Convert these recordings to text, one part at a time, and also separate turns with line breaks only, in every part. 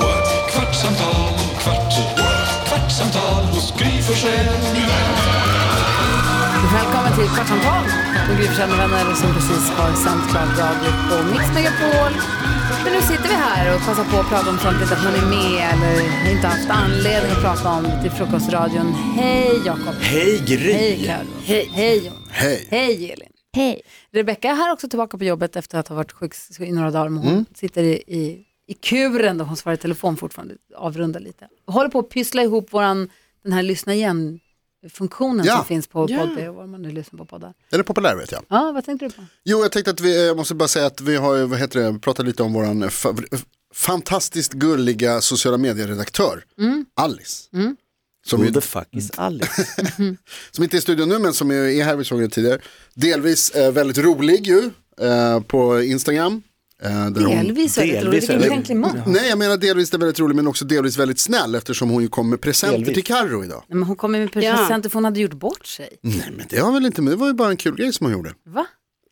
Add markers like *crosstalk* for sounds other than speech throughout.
what? kvartsamtal, kvart, what? kvartsamtal hos Gry Forssell med vänner.
Välkommen till Kvartsamtal med Gry Forssell med vänner som precis har sänt klart radio på Mix Megapol. Men nu sitter vi här och passar på att prata om sånt, lite att man är med eller inte haft anledning att prata om till frukostradion. Hej Jakob!
Hej Gry!
Hej Carro! Hej! Hej Jonas!
Hej.
Hej Elin! Hej! Rebecka är här också tillbaka på jobbet efter att ha varit sjuk i några dagar. Men hon
Mm.
sitter i, i, i kuren då hon svarar i telefon fortfarande, avrundar lite. Håller på att pyssla ihop våran, den här lyssna igen-funktionen
Ja.
som finns på Podplay och var man nu lyssnar på poddar.
Är det populär vet jag?
Ja, vad tänkte du på?
Jo, jag tänkte att vi, jag måste bara säga att vi har, ju- vad heter det, pratat lite om våran favor- fantastiskt gulliga sociala medieredaktör, Alice. Som,
Who
ju,
the fuck is Alice?
som inte är i studion nu men som ju är här, vi såg henne tidigare. Delvis eh, väldigt rolig ju, eh, på Instagram. Eh, där hon-
Delvis väldigt roligt.
Delvis
Vilken
är det-
komplimang. Nej,
Nej, jag menar delvis det är väldigt rolig men också delvis väldigt snäll eftersom hon ju kom med presenter
Delvis.
till Carro idag.
men hon kommer med presenter för hon hade gjort bort sig.
Mm.
Nej, men det har väl inte, men det var ju bara en kul grej som hon gjorde.
Va?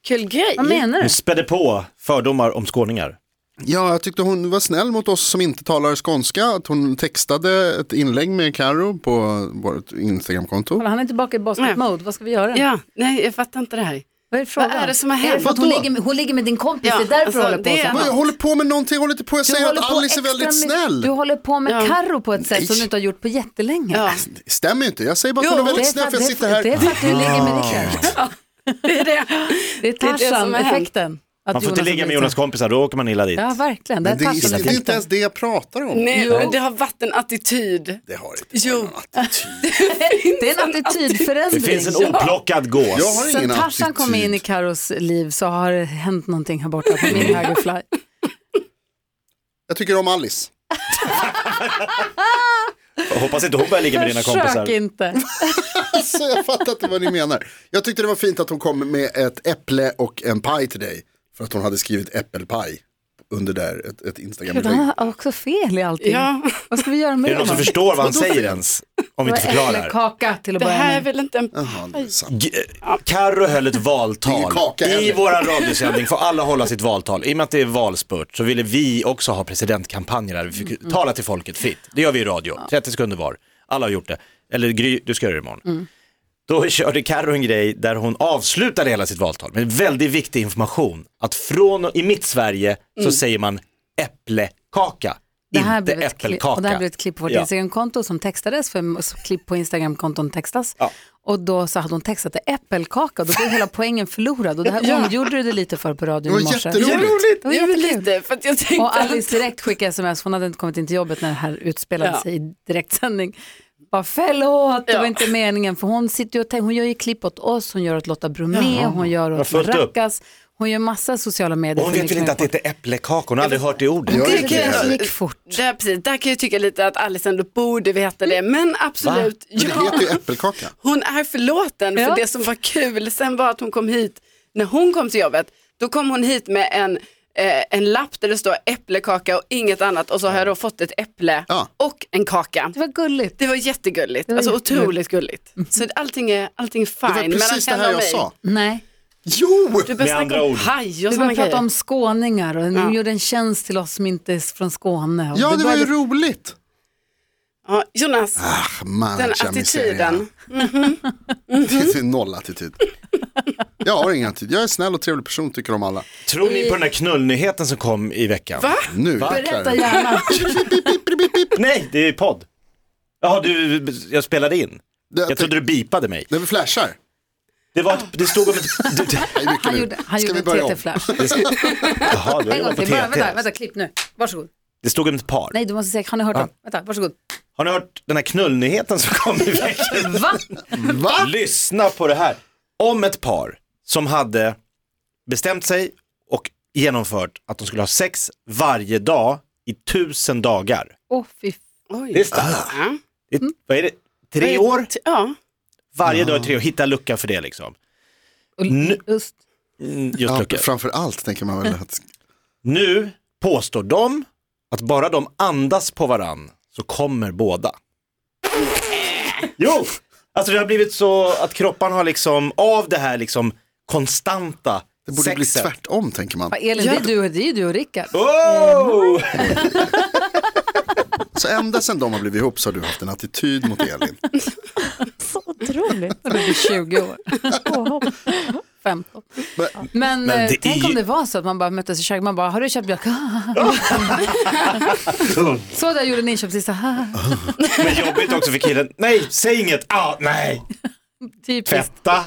Kul grej.
Vad menar du?
Hon spädde på fördomar om skåningar.
Ja, jag tyckte hon var snäll mot oss som inte talar skånska. Att hon textade ett inlägg med Karo på vårt Instagramkonto.
Kolla, Han är tillbaka i basket
Nej.
mode. Vad ska vi göra?
Ja, nej jag fattar inte det här.
Vad är frågan?
Vad är det som har hänt?
Är det för att hon,
Vadå?
ligger med, hon ligger med din kompis,
Ja,
det är därför
alltså,
hon håller på
det
så.
är-
Vad, jag håller på med någonting, jag håller inte på. Jag
Du
säger
håller
att
på
Alice är
extra
väldigt
med-
snäll.
Du håller på med
Ja.
Carro på ett sätt
Nej.
som du inte har gjort på jättelänge.
Ja,
Det stämmer ju inte. Jag säger bara att
Jo,
hon är
Det
väldigt
är för
snäll
att-
för jag
det- Det
sitter
är
här.
för att du ligger med Rickard.
*laughs* det är det.
Det är
det som har hänt.
Tarzan-effekten. Att
Man får inte ligga med Jonas kompisar, då åker man illa dit.
Ja, verkligen. Det
Men
är
det, är, det är inte
Tarzan-effekten.
ens det jag pratar om.
Nej, men det har varit en attityd.
Det har inte.
Jo, *laughs*
Det är en
Det
attitydförändring.
finns en oplockad
Jag
gås.
har
Sen
ingen
Tarzan
attityd.
kom in i Karos liv så har det hänt någonting här borta på
Mm.
min högerfly.
Jag tycker om Alice. *laughs*
Jag hoppas inte hon börjar ligga med dina kompisar.
Försök inte.
Alltså, jag fattar inte vad ni menar. Jag tyckte det var fint att hon kom med ett äpple och en paj till dig. För att hon hade skrivit äppelpaj under där ett, ett Instagram-inlägg.
Han har också fel i allting.
ja.
Vad ska vi göra med
Är det någon som
honom?
förstår vad han säger ens? Om vi inte förklarar.
Äppelkaka till att
det här
börja
är
med.
väl inte en...
Jaha, det är sant.
G- Carro höll ett
Det är ju
valtal.
kaka
I
heller.
våran radiosändning får alla hålla sitt valtal. I och med att det är valspurt så ville vi också ha presidentkampanjer där vi fick
Mm.
tala till folket fritt. Det gör vi i radio, 30 sekunder var. Alla har gjort det. Eller Gry, du ska göra det imorgon.
Mm.
Då körde Carro en grej där hon avslutade hela sitt valtal med väldigt viktig information. Att från, i mitt Sverige så säger man äpplekaka,
Mm. Det här
inte
blev ett klipp, och det här
äppelkaka.
blev ett klipp på vårt
Ja.
Instagramkonto som textades, för så klipp på Instagramkonton textas.
Ja.
Och då så hade hon textat det äppelkaka och då blev hela poängen förlorad. Och det här omgjorde du det lite för på
Det
radion
var
i morse.
Det var
jätteroligt.
roligt.
Det var
Det var
jättekul.
lite, för att jag tänkte...
Och Alice direkt skickade sms, hon hade inte kommit in till jobbet när det här utspelade
Ja.
sig i direktsändning. Bara förlåt, det var
Ja.
inte meningen. För hon, sitter ju och tänker, hon gör ju klipp åt oss, hon gör åt Lotta Bromé, hon gör
har
åt
fullt upp.
Maracas, hon gör massa sociala medier.
Och hon
för
vet väl
mycket
inte att det
mer
heter äpplekaka, hon har aldrig hört det ordet.
Jag är
folk.
inte
Det
heller.
gick fort.
Där, precis, där kan jag tycka lite att Alice ändå borde veta det, men absolut.
Men det heter ju äppelkaka.
Hon är förlåten
Ja.
för det som var kul sen var att hon kom hit, när hon kom till jobbet, då kom hon hit med en, eh, en lapp där det står äpplekaka och inget annat och så har jag då fått ett äpple
Ja.
och en kaka.
Det var gulligt.
Det var jättegulligt,
var
alltså
jättegulligt.
otroligt gulligt. Så allting är, allting är
Det
fine.
var precis det
henne
här
och
jag
mig,
sa.
Nej,
Jo!
Du började
Med
snacka
andra
om
ord.
haj och
vi började
sådana
prata
grejer.
om skåningar och hon
Ja.
gjorde en tjänst till oss som inte är från Skåne. Och
Ja,
vi
det var
började-
ju roligt.
Ja, Jonas,
Ah, man,
den
jag missar
attityden.
det. Det är noll attityd. Jag har ingen attityd. Jag är en snäll och trevlig person, tycker om alla.
Tror ni på den här knullnyheten som kom i veckan?
Va?
Nu jäklar.
Berätta gärna.
Nej, det är podd. Jaha, du, jag spelade in.
Det,
Jag trodde du bipade mig.
det är väl flashar.
Det, var ett, det stod om ett... *laughs* Du, det,
Det är mycket
Han
nu.
gjorde, han
Ska
gjorde
vi
en
börja om?
TT-flash.
jaha, du
*laughs*
har
En gång
jobbat på
till, bara, vänta,
TT.
vänta, klipp nu. Varsågod.
Det stod om ett par.
Nej, du måste säga, har ni hört
Ja.
den? Vänta, varsågod.
Har ni hört den här knullnyheten som kom i veckan?
*laughs* Va?
Va?
Lyssna på det här. Om ett par som hade bestämt sig och genomfört att de skulle ha sex varje dag i tusen dagar.
Åh, fy
Oj.
Det är starkt.
Ja.
Det
Mm.
är- Vad är det? Tre år?
T- Ja.
Varje dag i tre år. Hitta luckan för det liksom.
Och
Nu-
Just.
Mm, Just
Ja,
luckan.
framför allt tänker man väl att
Nu påstår de att bara de andas på varann så kommer båda. Jo, alltså det har blivit så att kropparna har liksom av det här liksom konstanta
det borde bli
sexet.
tvärtom tänker man.
Ja, Elin, det, är du, och- det är ju du och Rickard.
Oh!
Så ända sedan de har blivit ihop så har du haft en attityd mot Elin.
Så otroligt.
När du blir 20
*laughs*
år.
Påhopp.
15.
Men,
Men,
Men
eh,
det är
tänk om
ju-
det var så att man bara möttes i köket, man bara, har du köpt mjölk? *laughs*
Mm.
så där gjorde en inköpslista,
Men jobbigt också för killen. Nej, säg inget. Ah, nej,
*laughs* typiskt.
tvätta.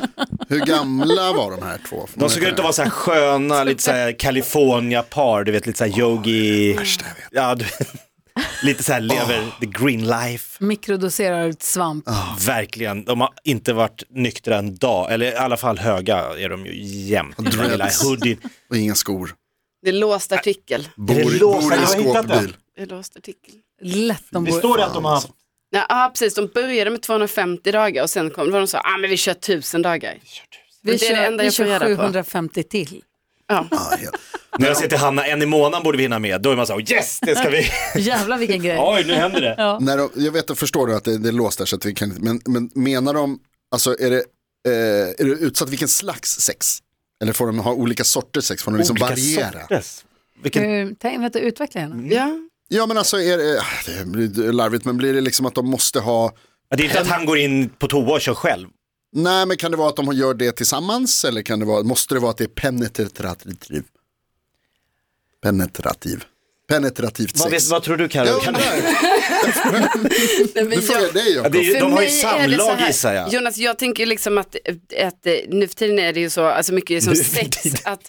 hur gamla var de här två?
De såg ut att vara så här sköna, lite så här California-par, du vet lite så här yogi. Ja, du... Lite så här lever
Ah.
the green life.
Mikrodoserar svamp.
Verkligen, de har inte varit nyktra en dag, eller i alla fall höga är de ju jämt. Den där lilla hoodien.
Och inga skor.
Det är låst artikel.
Bor,
det
i-
låsa?
bor i
Jag har hittat den.
skåpbil.
Det är låst artikel.
Lätt de
Det
bor.
står det att de har haft
Ja, ah, precis. De började med 250 dagar och sen kom det var de sa, ah, men vi kör 1000 dagar.
Vi
Men det är det
kör,
enda
vi
jag får
kör
reda på.
750 till. Mm.
Ja.
Ja, helt.
När jag säger till Hanna, en i månaden borde vi hinna med, då är man så här, "Oh, yes, det ska vi.
Jävlar vilken grej.
*laughs* Oj, nu händer det.
När de, jag vet, jag förstår du att det, det är låst där så att vi kan inte- men, men menar de, alltså är det, eh, är det utsatt vilken slags sex? Eller får de ha olika sorters sex? Får de liksom
Olika
variera?
sorters. Vilken...
Hur, Eh, tänk, vänta, utveckla
Mm.
gärna.
Ja.
Ja men alltså är det, det blir larvigt, men blir det liksom att de måste ha,
Ja, Det är inte att han går in på toa och kör själv.
nej men kan det vara att de gör det tillsammans eller kan det vara, måste det vara att det är penetrativ? Penetrativ. Penetrativt
Vad, vet,
sex.
vad tror du Carro?
Jag
Kan-
undrar,
Nej, men
du
jag-
frågar dig
Ja, det
Jakob.
är ju-
För
de har ju
mig är det så
samlag
här-
gissar jag.
Jonas, jag tänker liksom att, att eh, nu för tiden är det ju så, alltså mycket som
Nu för
sex,
tiden.
att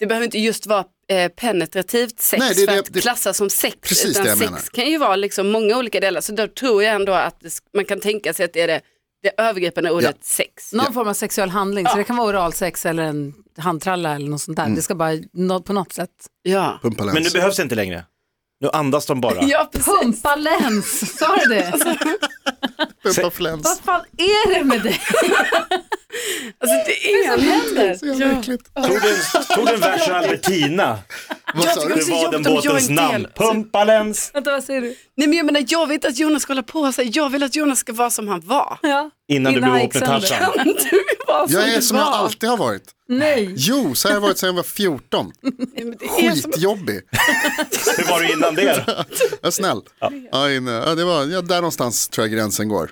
det behöver inte just vara eh, penetrativt sex
Nej, det är
för
det-
att
det-
klassas som sex.
Precis
utan
det jag
sex
menar.
kan ju vara liksom många olika delar, så då tror jag ändå att det, sk- man kan tänka sig att det är det, det övergripande ordet sex.
Någon form av sexuell handling, så det kan vara oralsex eller en handtralla eller något sånt
Mm.
där. Det ska bara nå- på något sätt.
Ja,
Pumpa
Men nu
läns.
behövs det inte längre. Nu andas de bara.
ja precis. Alltså,
Pumpa läns, sa du det? *laughs*
Pumpa fläns.
Vad fan är det
*laughs*
med dig?
Alltså, det är
Vad händer?
Så jävla äckligt.
Tog den, tog den värsta Albertina.
Vad sa
tycker
du?
Det
också
var
jobbigt
den
om jag
båtens
är en del.
namn. Pumpalens.
Vänta, vad säger du?
Nej, men jag menar, jag vill inte att Jonas ska hålla på så här. jag vill att Jonas ska vara som han var.
Ja.
Innan du blev
han
ihop med
gick sönder.
Tarzan.
Du var som
Jag är
du
som jag
var.
alltid har varit.
Nej.
Jo, så har jag varit sedan jag var 14.
Nej, men det är som-
Skitjobbig.
Hur var du innan det?
*laughs*
då?
Jag är snäll. Ja. inne. Ja, det var, ja, där någonstans tror jag gränsen går.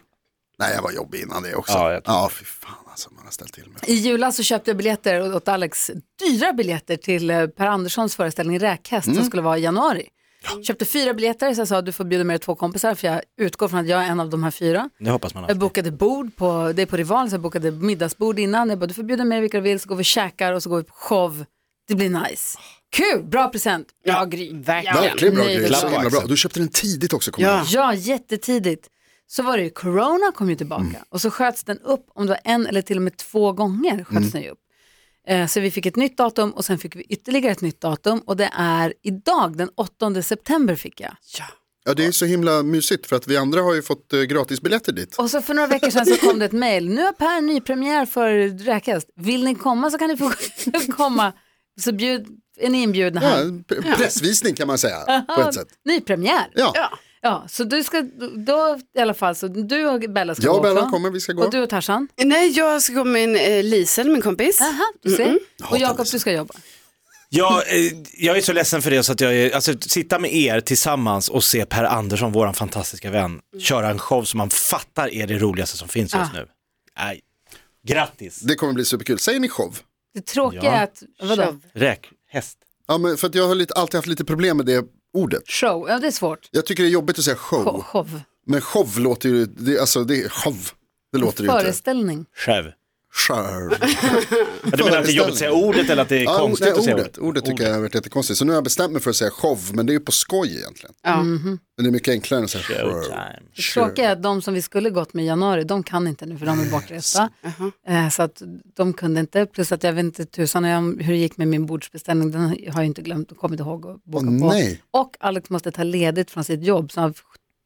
Nej, jag var jobbig innan det också.
Ja,
Ja,
jag tror-
ja fy fan alltså, man har ställt till med.
I julas så köpte jag biljetter åt Alex, dyra biljetter till eh, Per Anderssons föreställning Räkhäst
Mm.
som skulle vara i januari. Köpte fyra biljetter så jag sa du får bjuda med dig två kompisar för jag utgår från att jag är en av de här fyra.
Nu hoppas man
Jag
alltid.
bokade bord på, det är på Rival, så jag bokade middagsbord innan. Jag bara, du får bjuda med dig vilka du vill så går vi och käkar och så går vi på show. Det blir nice. Kul, bra present. Bra Gry.
verkligen.
Verkligen bra
Nej,
grej.
det
Så
var-
himla bra. Du köpte den tidigt också. kommer jag
Ja.
ihåg.
Ja, jättetidigt. Så var det ju, corona kom ju tillbaka
Mm.
och så sköts den upp, om det var en eller till och med två gånger sköts
Mm.
den ju upp. Eh, Så vi fick ett nytt datum och sen fick vi ytterligare ett nytt datum och det är idag, den 8 september fick jag.
ja, det är så himla mysigt för att vi andra har ju fått eh, gratisbiljetter dit.
Och så för några veckor sedan så
*laughs*
kom det ett mejl, nu har Per nypremiär för Räkhäst, vill ni komma så kan ni få *laughs* komma, så bjud, är ni inbjudna
Ja,
här.
p- pressvisning kan man säga på ett sätt.
Nypremiär.
Ja.
Ja, så du ska, då i alla fall, så du och Bella ska
Jag
gå
och Bella
också.
kommer, vi ska gå.
Och du och Tarzan.
Nej, jag ska gå med min eh, Lisel, min kompis.
Aha, du ser. Och Jakob,
Lisa.
du ska jobba.
Jag, eh, jag är så ledsen för det så att jag är, alltså sitta med er tillsammans och se Per Andersson, våran fantastiska vän, köra en show som man fattar är det roligaste som finns just nu. Nej. Grattis.
Det kommer bli superkul. Säger ni show?
Det tråkiga
Ja.
är att, vadå? Show.
Show.
Räk, häst.
Ja, men för att jag har lite, alltid haft lite problem med det ordet.
ja det är svårt.
Jag tycker det är jobbigt att säga show.
Show.
Men show låter ju, det, alltså det är show. Det låter ju inte.
Föreställning.
Själv.
Show.
Ja, du menar att det är jobbigt att säga ordet eller att det är
Ja,
konstigt
nej,
att säga
ordet,
ordet?
ordet tycker jag har varit jättekonstigt. Så nu har jag bestämt mig för att säga show, men det är ju på skoj egentligen.
Ja.
Mhm.
Men det är mycket enklare än att säga show.
Showtime.
Det tråkiga är att de som vi skulle gått med i januari, de kan inte nu för de är
*laughs*
bortresta. Eh, Så att de kunde inte, plus att jag vet inte tusan om hur det gick med min bordsbeställning, den har jag inte glömt och kommit ihåg att boka
Åh,
på.
nej.
Och Alex måste ta ledigt från sitt jobb, så han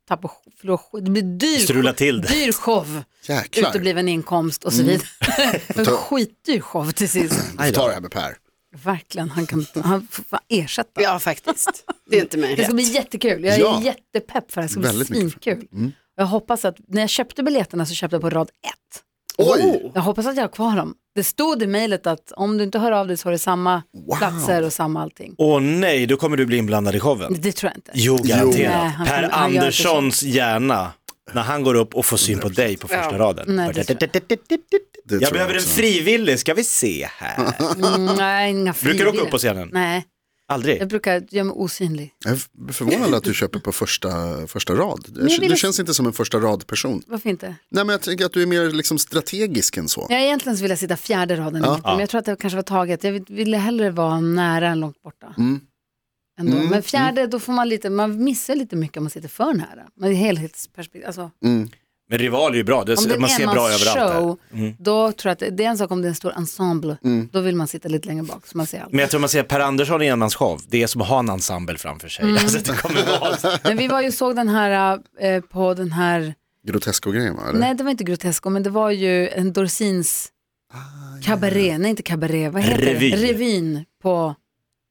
tappa, förlora, det blir dyr,
Strula till det.
dyr show,
Jäklar.
utebliven inkomst
Mm.
och så vidare.
*laughs*
En *laughs* skitdyr show till sist.
Vi tar det här med Per.
Verkligen, han kan han får fan ersätta.
Ja, faktiskt. Det är inte mig
Det ska
rätt.
bli jättekul, jag är
Ja.
jättepepp för det här, det ska
Väldigt
bli
mycket.
svinkul. Jag hoppas att, när jag köpte biljetterna så köpte jag på rad ett.
Oh.
Oj,
Jag hoppas att jag har kvar dem. Det stod i mejlet att om du inte hör av dig så har du samma platser och samma allting.
Åh nej, då kommer du bli inblandad i showen.
Det tror jag inte.
Jo,
Jo.
Nej,
garanterat.
han
per
kommer- han gör inte så.
Anderssons hjärna, när han går upp och får syn på dig på första
Ja.
raden.
Nej, det tror
Det tror
jag
jag
behöver en
också.
frivillig, ska vi se här.
Mm, nej, inga
Brukar du åka
frivilliga.
upp på scenen?
Nej,
Aldrig?
jag brukar göra mig osynlig.
jag är förvånad att du köper på första, första rad. Du,
jag ville-
du känns inte som en första rad-person.
Varför inte?
Nej men jag tänker att du är mer liksom strategisk än så.
Jag egentligen så vill jag sitta fjärde raden i mitten, men jag tror att det kanske var taget. Jag vill- ville hellre vara nära än långt borta.
Mm.
Ändå. Men fjärde, då får man lite, man missar lite mycket om man sitter för nära. Men i helhetsperspektiv, alltså,
Mm.
Men Rival är ju bra,
om
det,
det
man
är
ser
en
bra överallt. Mm. Där.
show, då tror jag att det är en sak om det är en stor ensemble, då vill man sitta lite längre bak så man ser allt.
Mm. Men jag tror man ser Per Andersson i enmansshow, det är som att ha en ensemble framför sig.
Mm.
Alltså, det kommer vara...
Men vi var ju såg den här eh, på den här,
Grotesco-grejen va? Eller?
nej det var inte Grotesco, men det var ju en Dorsins kabaré,
Mm.
nej inte kabaré, vad heter
Revy.
det? Revyn på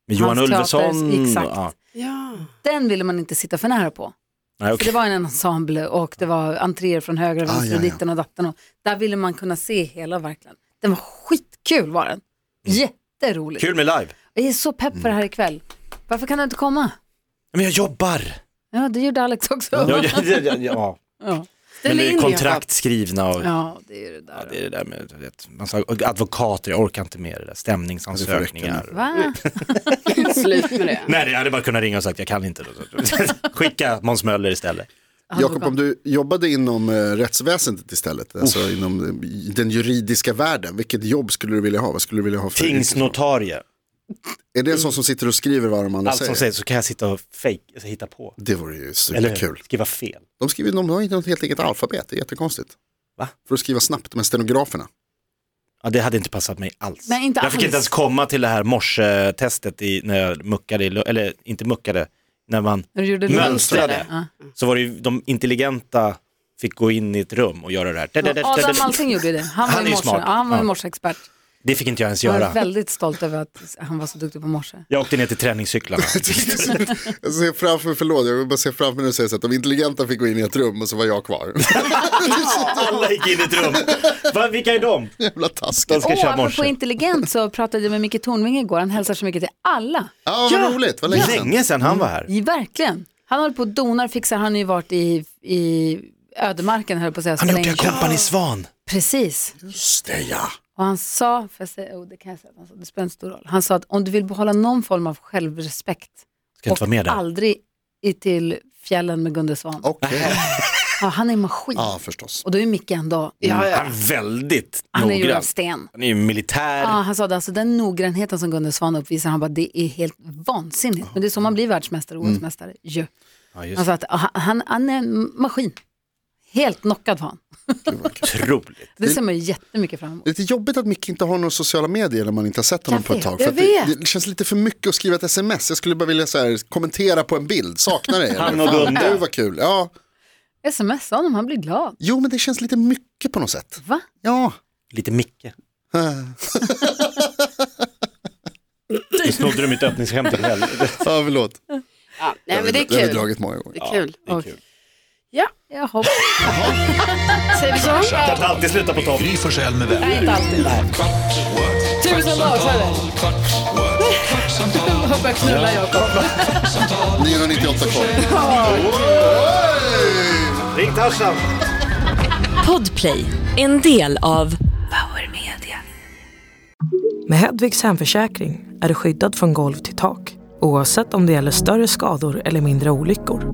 Med Johan
Hans teater,
Ulveson.
exakt.
Ja.
Ja.
Den ville man inte sitta för nära på.
Nej,
För
okej.
det var en ensemble och det var entréer från höger och
Ah,
vänster
ja,
och
ja.
ditten och datten. Och där ville man kunna se hela verkligen. Den var skitkul var den. Jätterolig.
Mm. Kul med Mm. live.
Jag är så pepp för det här ikväll. Varför kan du inte komma?
Men jag jobbar.
Ja, det gjorde Alex också.
Ja, ja, ja, ja, ja.
Ja.
Men det
in
är
i
kontrakt skrivna och
alltså. Ja, det är det där.
det är det där med du vet, massa advokater, jag orkar inte med det där, stämningsansökningar.
Va?
*laughs* Slut med det.
Nej, jag hade bara kunnat ringa och sagt jag kan inte. *laughs* Skicka Måns Möller istället.
Jakob, om du jobbade inom eh, rättsväsendet istället, alltså inom eh, den juridiska världen, vilket jobb skulle du vilja ha? Vad skulle du vilja ha för
Tingsnotarie.
Är det en sån som sitter och skriver vad de andra
Allt som
säger?
sägs så kan jag sitta och fake, alltså, hitta på.
Det vore ju
Eller hur?
superkul.
skriva fel.
De, skriver, de har inte något helt eget alfabet, det är jättekonstigt.
Va?
För att skriva snabbt med stenograferna.
*laughs* Ja, det hade inte passat mig alls.
Nej, inte
jag fick
alls.
inte ens komma till det här morsetestet i, när jag muckade, i, lu- eller inte muckade, när man
När du gjorde
mönstrade.
Ja.
Så var det ju de intelligenta fick gå in i ett rum och göra det här.
Ja, Adam alltså- Alsing gjorde ju det. Han var
Han
ju
är ju
morse. Ja,
smart.
han var ju
Ja.
morseexpert.
Det fick inte jag ens
Jag är
göra.
väldigt stolt över att han var så duktig på morse.
Jag åkte ner till träningscyklarna.
Jag ser framför, förlåt, jag vill bara se framför mig när du säger så att de intelligenta fick gå in i ett rum och så var jag kvar. *laughs*
Alla gick in i ett rum. Va, vilka är de?
Jävla taskigt.
ska
Och
köra
apropå
morse.
intelligent
*laughs*
så pratade jag med Micke Tornving igår. Han hälsar så mycket till alla.
Ja, vad roligt, vad länge sedan.
Länge sedan han var här.
I, verkligen. Han håller på och donar och fixar. Han har ju varit i, i ödemarken höll jag på att säga. så
Han har
länge.
gjort kompani Svan.
Precis.
Just det, ja.
Och han sa, för jag säger, oh, det kan jag säga, att han sa, det spelar inte stor roll. Han sa att om du vill behålla någon form av självrespekt
Ska inte vara med där.
aldrig i, till fjällen med Gunde Svan.
Okej.
Ja, han är en maskin.
Ja, förstås.
Och då är Micke ändå,
Ja,
Han
ja.
är väldigt
han är gjord av
noggrann.
sten.
Han är ju militär.
Ja, han sa det, alltså den noggrannheten som Gunde Svan uppvisar, han bara det är helt vansinnigt. Men det är så man blir världsmästare och OS-mästare ju.
Mm. Ja, just
Han sa att ah, han, han är en maskin. Helt knockad var han.
Otroligt.
Det ser man ju jättemycket fram emot.
Det är lite jobbigt att Micke inte har några sociala medier när man inte har sett honom
Jag
på ett
vet,
tag.
jag
att det,
vet.
det känns lite för mycket att skriva ett sms. Jag skulle bara vilja så här, kommentera på en bild, saknar dig. eller?
Han och
Fan,
Gunde.
Du var kul. Ja.
Smsa honom, han blir glad.
Jo, men det känns lite mycket på något sätt.
Va?
Ja,
Lite Micke. Nu snodde du mitt öppningsskämt ikväll.
ja förlåt.
Ja, nej, men
Det
det
har vi-
är
det har vi
kul.
dragit många gånger.
Det är kul.
Det är kul.
Jag hoppas.
Säger vi så?
Kan alltid sluta på topp.
Gry Forssell med vänner.
Inte alltid.
Kvart, what?
Tusen dagar, så är det.
Kvart, what? Kvartsamtal,
Hoppas jag knulla Jakob.
998 kvar.
Ring Tarzan.
Podplay, en del av
Med Hedvigs hemförsäkring är du skyddad från golv till tak oavsett om det gäller större skador eller mindre olyckor.